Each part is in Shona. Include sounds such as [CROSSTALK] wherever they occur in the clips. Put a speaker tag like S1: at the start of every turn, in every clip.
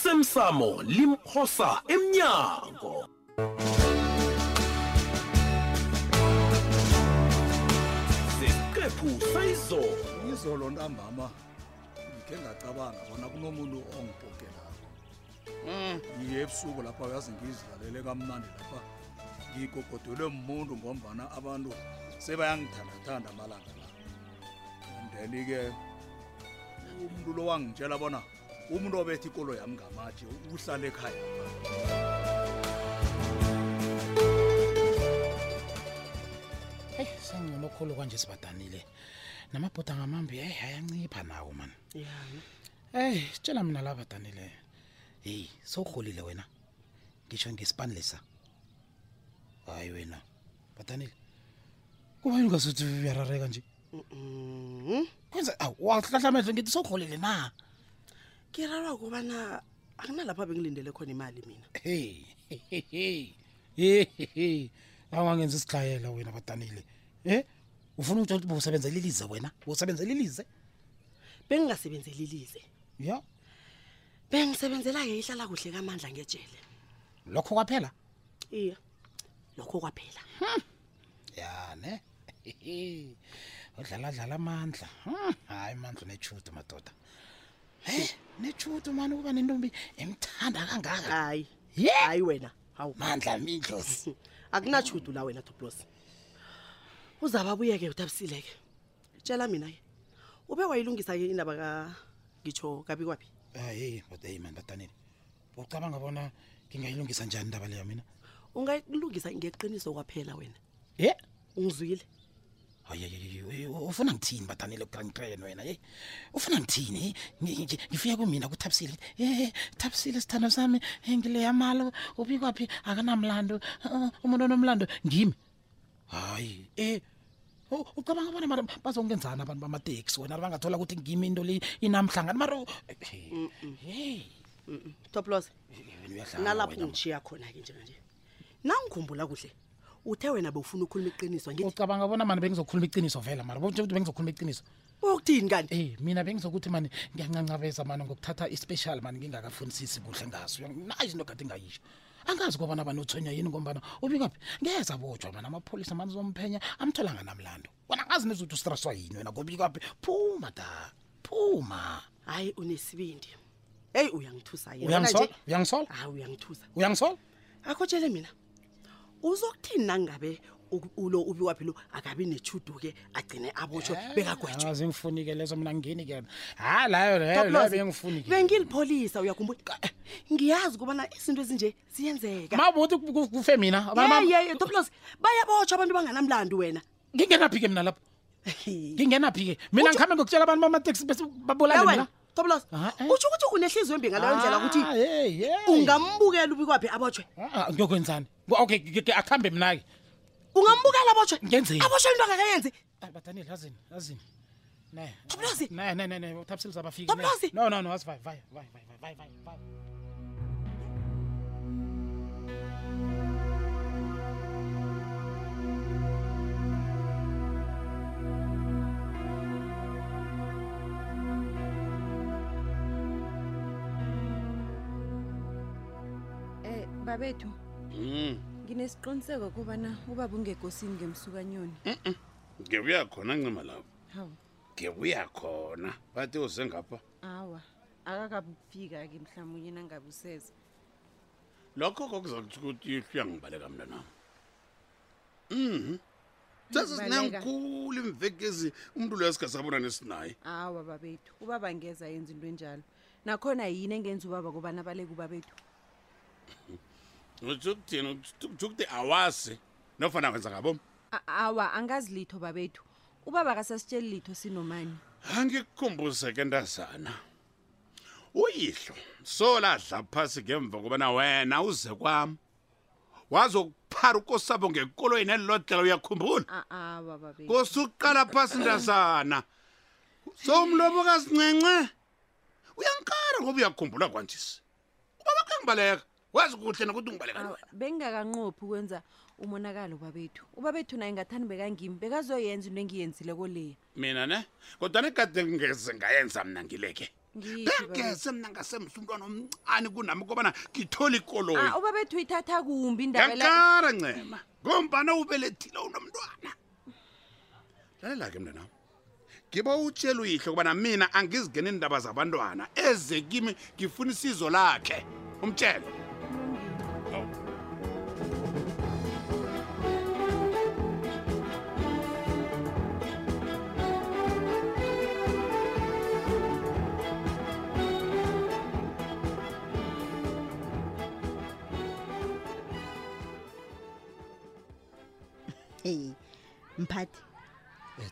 S1: osemsamo limphosa emnyango siqephu sayizolo
S2: izolo ntambama ndikhe ngacabanga bona kunomuntu ongibhokelako yiye ebusuku lapha uyazi ngiyizidlalele kamnandi lapha ngigogodwelwe muntu ngombana abantu sebayangithandathanda amalanga la andeni-ke umuntu lo wangitshela bona umuntu obetha ikolo yami ngamatshe uhlale ekhaya
S3: heyi sengcono khulu kwanje sibadanile namabhoda ngamambi heyi ayancipha nawo mani eyi tshela mina la badanile heyi sowurholile wena ngisho ngesipani lesa hayi wena badanile kuba yini ungazothi uyarareka nje kwenza awu wahlahla amehlo ngithi sowurholile na
S4: kirarwa kobana akunalapha bengilindele khona imali mina
S3: heyi hehehe awangenza isihlayela wena badanile um ufuna ukutshela ukuthi bowusebenza lilize wena bowusebenza lilize
S4: bengingasebenzeli ilize
S3: ya
S4: bengisebenzela-ke ihlala kuhle kamandla ngejele
S3: lokho kwaphela
S4: iya lokho kwaphela
S3: ya [LAUGHS] ne udlala dlala amandla Hmm, hayi mandla unechudo madoda he nechudo mani ukuba nentombi emthanda kangaka
S4: hayi
S3: Ye!
S4: hayi wena hawu
S3: mandla mindlosi
S4: [LAUGHS] akunatshudu la wena toplos uzaba abuye-ke utabisile-ke tshela mina-ke ube wayilungisa-ke indaba ka ngitsho kabikwaphi
S3: hayi boda eyi mani batanini ucabanga bona ngingayilungisa njani indaba leyo mina
S4: ungalungisa ngeqiniso kwaphela wena
S3: ye
S4: ungizwile
S3: hayi ufuna ngithini batanile ukrankreni wena yeyi ufuna ngithini Ngi- ngi- ngifika kumina kuthabisile ngithi, ye thabisile sithando sami eh, ngileyamalo ubikwaphi akanamlando Uh, umuntu onomlando ngimi hayi eh u- ucabanga bona mara bazongenzani abantu bamateksi wena bangathola ukuthi ngimi into le inamhlangani mara u- Eh, hey
S4: toplos
S3: wena uyadlala
S4: nalapho
S3: wena.
S4: ungishiya khona-ke njenganje nangikhumbula kuhle uthe wena bewufuna ukukhuluma iqiniso ngithi
S3: ucabanga bona mani bengizokhuluma iqiniso vela mara bonje ukuthi bengizokhuluma iqiniso
S4: ukuthini kanti
S3: Eh mina bengizokuthi mani ngiyancancabeza mani ngokuthatha ispecial mani ngingakafunisisi kuhle ngaso Uyangi- nayi into kade ngayisho angazi kobana bani uthonywa yini ngombana ubikaphi ngeze abotshwa mani amapholisa mani zomphenya amtholanga namlando wona angazi nezukuthi ustraswa yini wena ngobikaphi phuma da phuma
S4: hayi unesibindi eyi uyangithusa yena. Wena
S3: uyangisola
S4: nje-
S3: uyangisola
S4: hayi uyangithusa
S3: uyangisola
S4: akho tshele mina uzokuthini nangabe u- ulo ubiwaphi lo akabi nechudu-ke agcine abotsho bekagwetshwe
S3: Eh, angazi ngifuni-ke lezo mina ngini kena
S4: Ah,
S3: hayi layo leyo leyo
S4: Toplozi,
S3: bengifuni-ke
S4: bengilipholisa uyakhumbula Eh, ngiyazi ukubana izinto ezinje ziyenzeka
S3: mabuthi kufe mina
S4: Ye, ye, ye, toplos bayabotshwa abantu banganamlandi wena
S3: ngingenaphi ke mina lapho ngingenaphi ke mina ngikhambe ngokutshela abantu bamateksi bese babulale mina
S4: wena toplos
S3: Ah, eh.
S4: utsho ukuthi unehliziyo embi ngaleyo ndlela ukuthi
S3: Ah, hey, hey.
S4: ungambukela ubikwaphi abotshwe
S3: Ah, ah, ngiyokwenzani Ngo- okay ke- ke- akhambe mina-ke
S4: ungambukela abotshwe
S3: Ngenzeni?
S4: abotshwe into angakayenzi
S3: Ah, badanile azini azini ne
S4: Toplozi!
S3: ne ne ne ne uthabisile zabafiki
S4: Toplozi!
S3: no no no asivai vai vai vai vai vai vai
S5: Eh babethu.
S6: Mm,
S5: Nginesiqiniseko kubana ubaba ungekosini ngemsukanyoni.
S6: ngibuya khona ncima lapho
S5: Hawu.
S6: ngibuya khona bathi uzengapha
S5: Awa. Akakabufika ke mhlawumnye nangabe useza.
S6: lokho kokuza kuthi ukuthi ihlu yangibaleka mntanam mhm sesisinengikhulu imvekezi umntu loyo sikasabona nesinaye
S5: Awa babethu. Ubaba angeza yenza into enjalo. Nakhona yini engenza ubaba kubana bale kubabethu?
S6: utsho ukuthini utsho ukuthi awazi nofana kwenza ngabom
S5: A- Awa angazi litho babethu. Ubaba akasasitsheli litho sinomani.
S6: angikukhumbuze ke ntazana uyihlo soladla phasi ngemva kobana wena uze kwam wazokuphara ukosabo ngekoloyini elilodlela uyakhumbula
S5: A- Awa babethu.
S6: kosuqala phasi ndazana somlobokasincenxe uyankara ngoba uyakhumbula kwanjisi ubaba kangibaleka wazi kuhle nokuthi ungibaleka
S5: Awa,
S6: wena
S5: bengingakanqophi ukwenza umonakalo babethu ubabethu naye ngathandi bekangimi bekazoyenza into engiyenzile koleya
S6: mina ne kodwa negade ngeze ngayenza mna ngileke
S5: Ngiphi babethu?
S6: bengeze mna ngasemsumntwana omncane kunami kobana ngithole ikoloyi
S5: Ah, ubabethu Ah, uyithatha kumbi indaba la
S6: yankara ncema ngombana ubelethile unomntwana lalela-ke mnanam ngiba utshela uyihle kubana mina angizingeni indaba zabantwana eze kimi ngifuna isizo lakhe umtshelo
S7: hey mphathi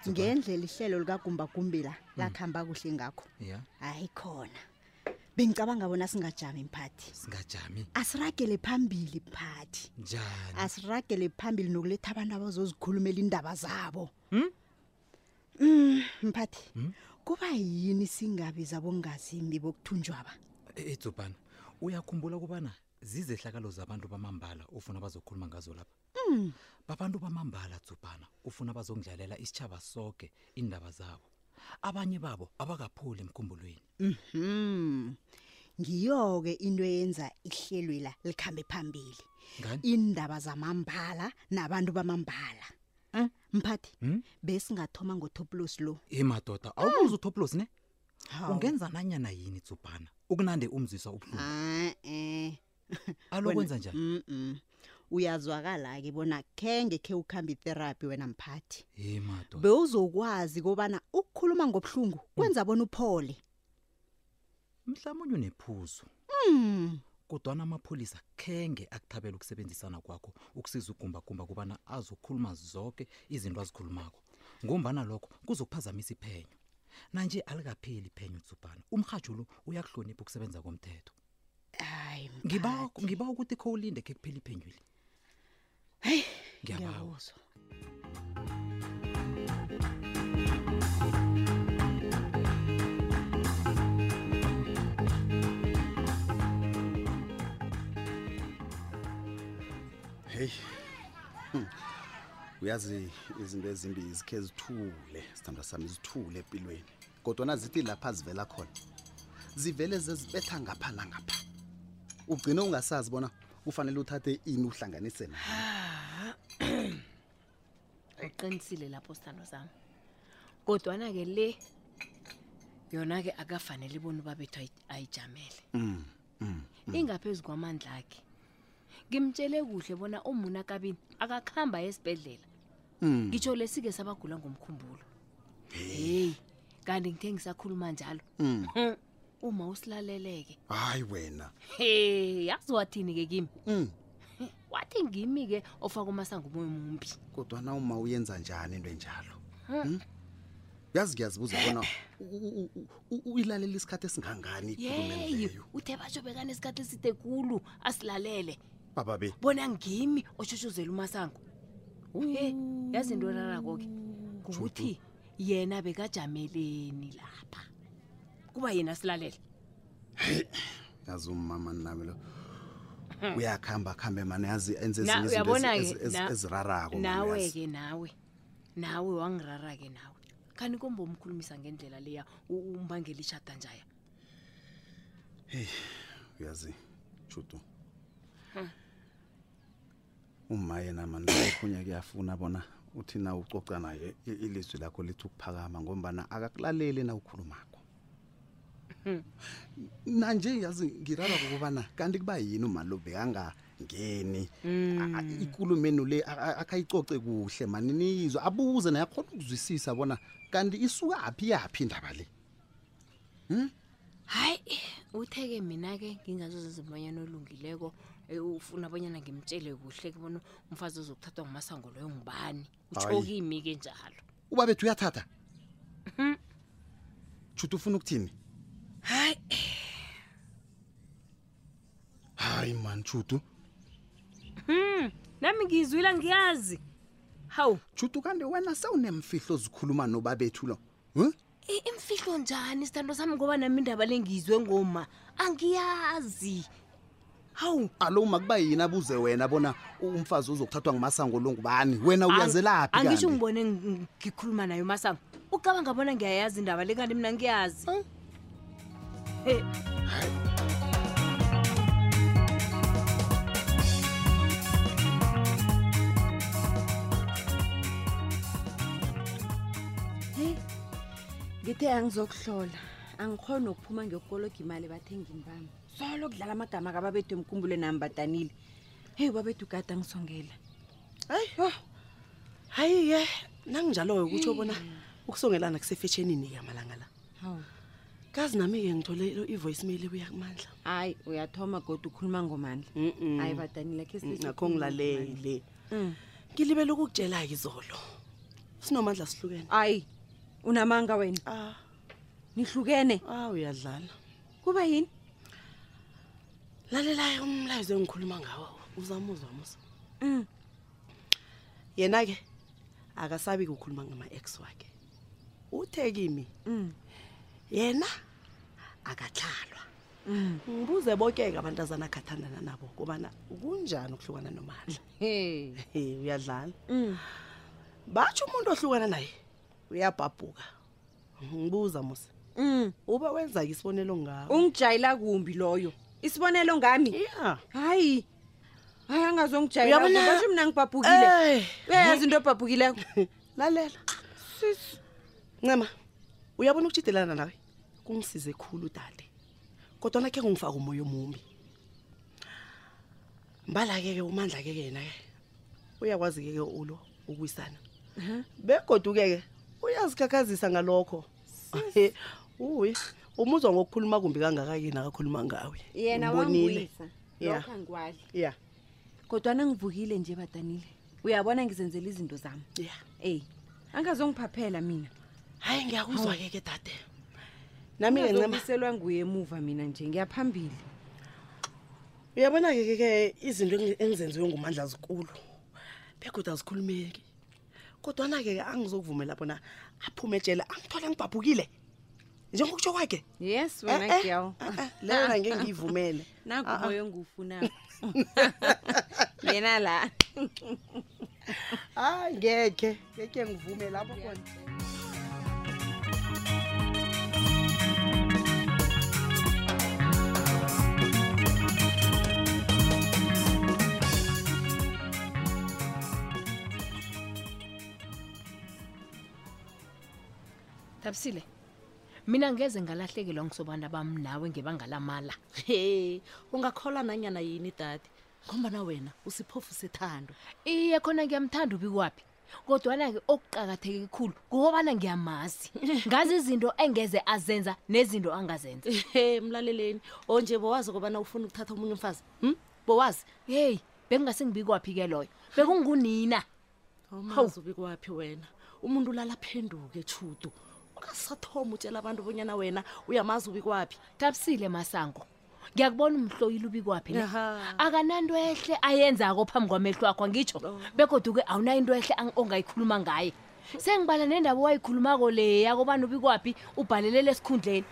S7: ngendlela ihlelo likagumbagumbila lakuhamba kuhle ngakho
S8: ya
S7: hayi khona bengicabanga bona singajami mphathi
S8: singajami
S7: asiragele phambili mphathi
S8: njani
S7: asiragele phambili nokuletha abantu abazozikhulumela iindaba zabo Mm, mphathi kuba yini singabiza bongazimbi bokuthunjwaba
S8: E- edzubhana uyakhumbula kubana zizehlakalo zabantu bamambala ufuna bazokhuluma ngazo lapha
S7: Hmm.
S8: babantu bamambala dzubhana ufuna bazongidlalela isitshaba soke indaba zabo abanye babo abakaphuli emkhumbulweni
S7: Mhm. Ngiyoke into eyenza ihlelwe la likhambe phambili.
S8: Ngani?
S7: Indaba zamambala nabantu bamambala.
S8: Eh?
S7: Mphathi, besingathoma ngotoplos lo.
S8: emadoda awubuza utoplos ne
S7: Hawu.
S8: ungenza nanyana yini dzubhana ukunande umzisa ubuhlungu
S7: Ah eh.
S8: [LAUGHS] alokwenza njani
S7: Mhm. Uyazwakala ke bona kenge ke ukhamba therapy wena mphathi.
S8: emadoda
S7: Bewuzokwazi kobana ukukhuluma ngobhlungu kwenza bona uphole.
S8: mhlawumunye unephuzo
S7: Mhm.
S8: kodwana amapholisa khenge akuthabela ukusebenzisana kwakho ukusiza ugumbagumba kubana azokhuluma zonke izinto azikhulumako ngombana lokho kuzokuphazamisa iphenyo nanje alikapheli iphenyo tsubhana umrhatsho lo uyakuhlonipha ukusebenza komthetho
S7: Hayi.
S8: ngiba ngiba ukuthi kho ulinde khe kuphela iphenyweni
S7: Hey,
S8: ngiyabawa
S7: ngiyabuzwa.
S9: heyi Hmm. uyazi izinto ezimbi zikhe zithule sithanda sami zithule empilweni kodwana zithi lapha zivela khona zivele zezibetha ngapha nangapha ugcine ungasazi bona kufanele uthathe ini uhlanganise nayo
S10: uqinisile lapho sithando sami kodwana-ke le yona-ke akafanele ibona ubabethu ayi- ayijamele ingaphezu kwamandla akhe ngimtshele kuhle bona umuna kabini akakuhamba esibhedlela
S8: Mm.
S7: Hmm.
S10: ngitsho lesi-ke sabagula ngomkhumbulo heyi kanti ngithe ngisakhuluma njalo hm, uma usilaleleke
S9: Hmm. hayi wena
S10: he yazi wathini-ke kimi
S9: Mm.
S10: wathi ngimi-ke ofaka umasango umoya mumbi
S9: kodwana uma uyenza njani into enjalo Hmm? yazi ngiyazibuza bona u- u- u- u- uyilalela isikhathi esingangani ikhulume
S10: yeyi
S9: leyo
S10: uthe batsho bekane isikhathi eside kulu asilalele
S9: baba be
S10: bona ngimi oshushuzela umasango e yazi into erarako-ke kuthi yena bekajameleni lapha kuba yena
S9: [LAUGHS]
S10: silalela
S9: yazi umama nawe lo uyakuhamba kuhambe mane yazi enze
S10: Hmm. Na-
S9: ezinye izinto
S10: uyabona-ke,
S9: ezi- ezi-
S10: na-
S9: ezirarako man, yazi.
S10: nawe-ke nawe nawe wangirara-ke nawe khani komba umkhulumisa ngendlela leya u- umbangela ishada njaya
S9: uyazi judu uma yena mani okhunye kuyafuna bona uthi na ucoca naye i- ilizwi lakho lithi ukuphakama ngombana akakulaleli na ukhulumakho nanje yazi ngirara kokubana kanti kuba yini umali lo bekangangeni A- a- ikulumenu le a- a- akhayicoce kuhle mani niyizwe abuze naye akhona ukuzwisisa bona kanti isukaphi yaphi indaba le
S10: hayi uthe-ke mina-ke ngingazozezimonyana olungileko eh, ufuna abonyana ngimtshele kuhle ke bona umfazi ozokuthathwa ngumasango loyo ngubani utsho
S9: Hayi.
S10: kimi-ke njalo
S9: uba bethu uyathatha
S10: Mhm.
S9: judu ufuna ukuthini
S10: hayi
S9: hayi mani judu
S10: Hmm, nami ngiyizwile ngiyazi hawu
S9: judu kanti wena sewunemfihlo zikhuluma nobabethu lo Huh?
S10: i- imfihlo njani isithando sami ngoba nami indaba le ngiyizwe ngoma angiyazi hawu
S9: alo makuba yini abuze wena bona umfazi uzokuthathwa ngumasango lo ngubani wena uyazelaphi
S10: Ang- angisho
S9: kanti?
S10: ngibone ng- ngikhuluma nayo masango ucabanga bona ngiyayazi indaba le kanti mina ngiyazi
S5: heyi ngithe angizokuhlola angikhona ukuphuma ngiyokukologa imali ebathengini bami solo kudlala amagama kababethu emkumbulo nami badanile heyi babethu kade angisongela
S4: hayi
S5: Oh,
S4: hayi-ke nanginjalo-ke ukutsho bona ukusongelana kusefetshenini-ke amalanga la
S5: hawu
S4: kazi nami-ke ngithole i-voice mail ebuya kumandla
S5: hayi uyathoma godwa ukhuluma ngomandla hayi badanile khe
S4: Mm, nakho ngilalele Mm.
S5: Mm.
S4: ngilibele ukukutshela-ke izolo sinomandla sihlukene
S5: hayi unamanga wena nihlukene
S4: a Ah, uyadlala
S5: kuba yini
S4: lalelayo umlayezo engikhuluma ngawo uzamuzwa musa yena-ke akasabi ukukhuluma ngama-ex wakhe uthe kimi
S5: Mm.
S4: yena akatlalwa
S5: Mm.
S4: ngibuze boke-ke abantazana akhathandana nabo kubana kunjani ukuhlukana
S5: [LAUGHS]
S4: nomandla He, uyadlala
S5: Mm.
S4: batsho umuntu ohlukana naye uyabhabhuka ngibuza musa uba wenza-ke isibonelo ngawo
S5: Mm. ungijayela kumbi loyo isibonelo ngami
S4: ya
S5: hayi hayi
S4: Uyabona-
S5: angazongijayelaasho mna ngibhabhukile
S4: Eh.
S5: uyayazi into ebhabhukileko
S4: [LAUGHS] lalela ncema uyabona ukutshidelana nawe kungisize khulu dade kodwana khe ngungifaka umoya omumbi mbala-ke-ke umandla-ke ke yena-ke uyakwazi-ke-ke ulo ukuyisana begoduke-ke uyazikhakhazisa ngalokho uy umuzwa ngokukhuluma kumbi kangaka-ke nakakhuluma ngawe
S5: yena
S4: Umbonile.
S5: wangiwisa
S4: Ya.
S5: lokho angiwadli
S4: ya
S5: kodwana ngivukile nje badanile uyabona ngizenzela izinto zami
S4: ya
S5: eyi angazongiphaphela mina
S4: hayi ngiyakuzwa-ke ke dade nami-ke ncema
S5: ngiselwa nguye emuva mina nje ngiyaphambili
S4: uyabona-ke ke ke izinto engi- engizenziwe ngumandla zikulu begoda azikhulumeki kodwana-ke angizokuvumela bona aphume etshela angithole ngibhabhukile njengokutsho kwakhe
S5: yes
S4: Eh,
S5: wena
S4: eh,
S5: gel
S4: eh, eh, leyo na ngeke
S5: [LAUGHS]
S4: ngiyivumele Ah,
S5: nakuboyo
S4: [LAUGHS]
S5: ngufunako yena la
S4: hayi ngekhe ngekhe ngivume lapho khona
S10: Thabisile. Mina ngeze ngalahlekelwa ngisobana bami nawe ngebangalamala.
S7: he ungakhola nanyana yini dade ngombana wena usiphofu sethando
S10: Iye khona ngiyamthanda ubikwapi. Kodwana-ke okuqakatheke kakhulu
S7: [LAUGHS]
S10: kukobana ngiyamazi ngazi izinto engeze azenza nezinto angazenza
S7: he mlaleleni onje bowazi kobana ufuna ukuthatha omunye umfazi hm bowazi
S10: heyi bekungasengibikwaphi-ke loyo bekungunina
S7: awumazi ubikwaphi wena umuntu ulala phenduke tshudu ungasathoma utshela abantu bonyana wena uyamazi ubikwaphi
S10: thabisile masango ngiyakubona umhloyile ubikwaphi ne
S7: Aha.
S10: akananto ehle ayenzako phambi kwamehlo akho angitsho
S7: Oh.
S10: bekodwa-ke awunayo into ehle ang- ongayikhuluma ngaye sengibala nendaba owayikhulumako leya kobani ubikwaphi ubhalelela esikhundleni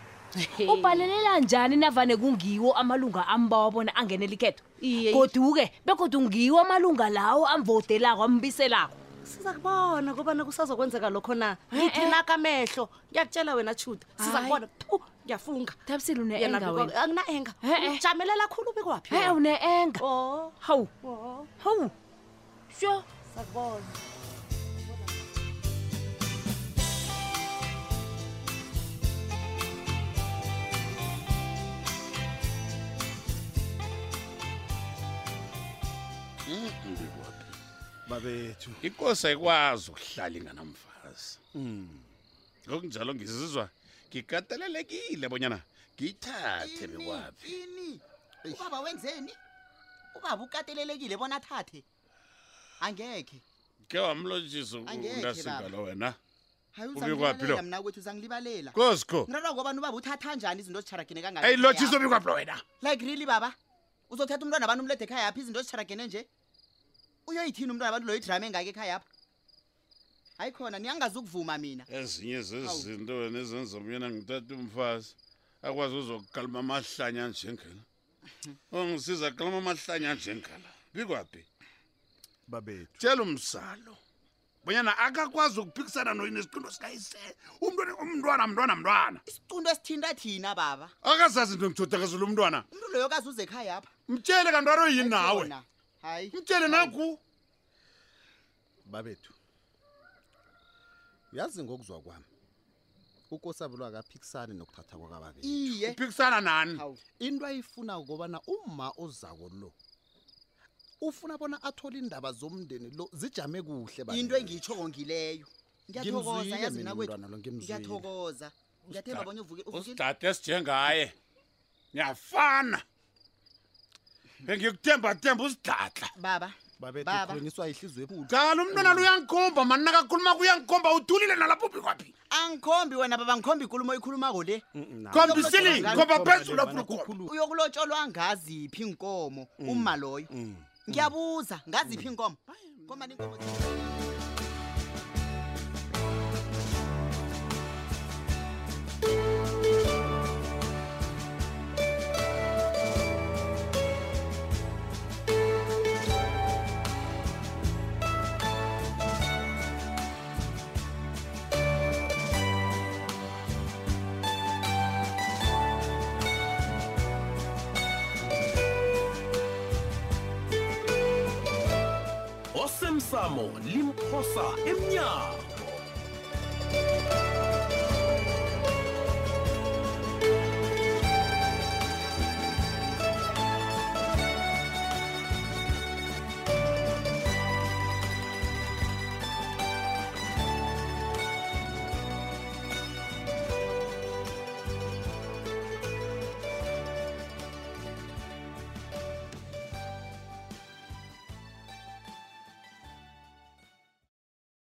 S10: ubhalelela njani navane kungiwo amalunga ambawa bona angenela ikhetho goduke bekodwa ngiwo amalunga lawo amvotelako ambiselako Eh,
S7: sizakubona kobana kusazokwenzeka lokho na ngithi nakamehlo ngiyakutshela wena tshudu sizakubona thu ngiyafunga
S10: thabisile
S7: Yena
S10: une-enga
S7: Bikwaphi-
S10: wena
S7: angina enga
S10: Eh, eh.
S7: jamelela khulu ubikwaphi
S10: he une-enga hawu hawu sho
S7: sakubona
S6: babethu ikosi ayikwazi ukuhlala inganamfazi ngokunjalo ngizizwa ngikatelelekile bonyana ngiyithathe bekwaphi
S11: ini ubaba wenzeni ubaba ukatelelekile bona athathe angekhe
S6: ke wamlotshisa
S11: Angekhe,
S6: untasingalo wena
S11: hayi
S6: ubikwaphi lo
S11: uzangilela mna kwethu uzangilibalela
S6: Kosi kho.
S11: mrara ngobani ubaba uthatha njani izinto ezitsharagene kangaka
S6: eyi lotshisa
S11: ekhaya?
S6: ubikwaphi lo wena
S11: like really baba uzothatha umntwana abantu umlede ekhaya yaphi izinto ezitsharagene nje uyoyithini umntwana abantu loyo idrama engaka ekhaya apha hayi khona niyangazukuvuma mina
S6: ezinye zezinto wena ezenza myena ngithatha umfazi akwazi uzokukaluma amahlanya
S11: [LAUGHS]
S6: njengela ongisiza kaluma amahlanya njengala bikwaphi
S2: babethu
S6: tshela umsalo bonyana akakwazi ukuphikisana noyini isiqunto sikayise umntwana umntwana mntwana mntwana
S11: isiqunto esithinta thina baba
S6: akazazi into ngithodakezela umntwana
S11: umntu loyo kazuze ekhaya apha
S6: mtshele kantwana oyini nawe
S11: hayi
S6: mtshele naku
S9: babethu uyazi ngokuzwa kwami ukosabelwa akaphikisani nokuthatha kwakababethu
S11: iye
S6: uphikisana nani
S9: into ayifuna ukobana umma ozako lo ufuna bona athole iindaba zomndeni lo zijame kuhle ba-
S11: into engiyitshoko ngileyo ngiyathokoza
S9: Ngimzwile
S11: yazi
S9: mina
S11: mina kwethu
S9: umntwana lo, ngimzwile.
S11: ngiyathokoza ngiyathemba bonye uvuke uvukile
S6: usidade esijengaye niyafana bengikuthembathemba usidadla
S11: baba
S9: babethu
S11: Baba.
S9: khulunyiswa ihliziyo ebuhlungu.
S6: dala umntwana lo uyangikhomba mani nakakhuluma kuyangikhomba uthulile nalapho ubikwaphi
S11: angikhombi wena baba ngikhomba ikulumo ikhulumako le
S6: khombisile khomba phezulu afuna
S11: uyokulotsholwa ngaziphi inkomo uma loyo ngiyabuza ngaziphi inkomo ngomani inkomo
S1: osemsamo limphosa emnyango